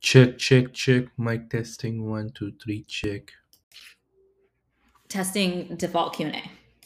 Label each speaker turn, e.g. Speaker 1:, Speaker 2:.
Speaker 1: Check, check, check. Mic testing. One, two, three, check.
Speaker 2: testing default Q&A.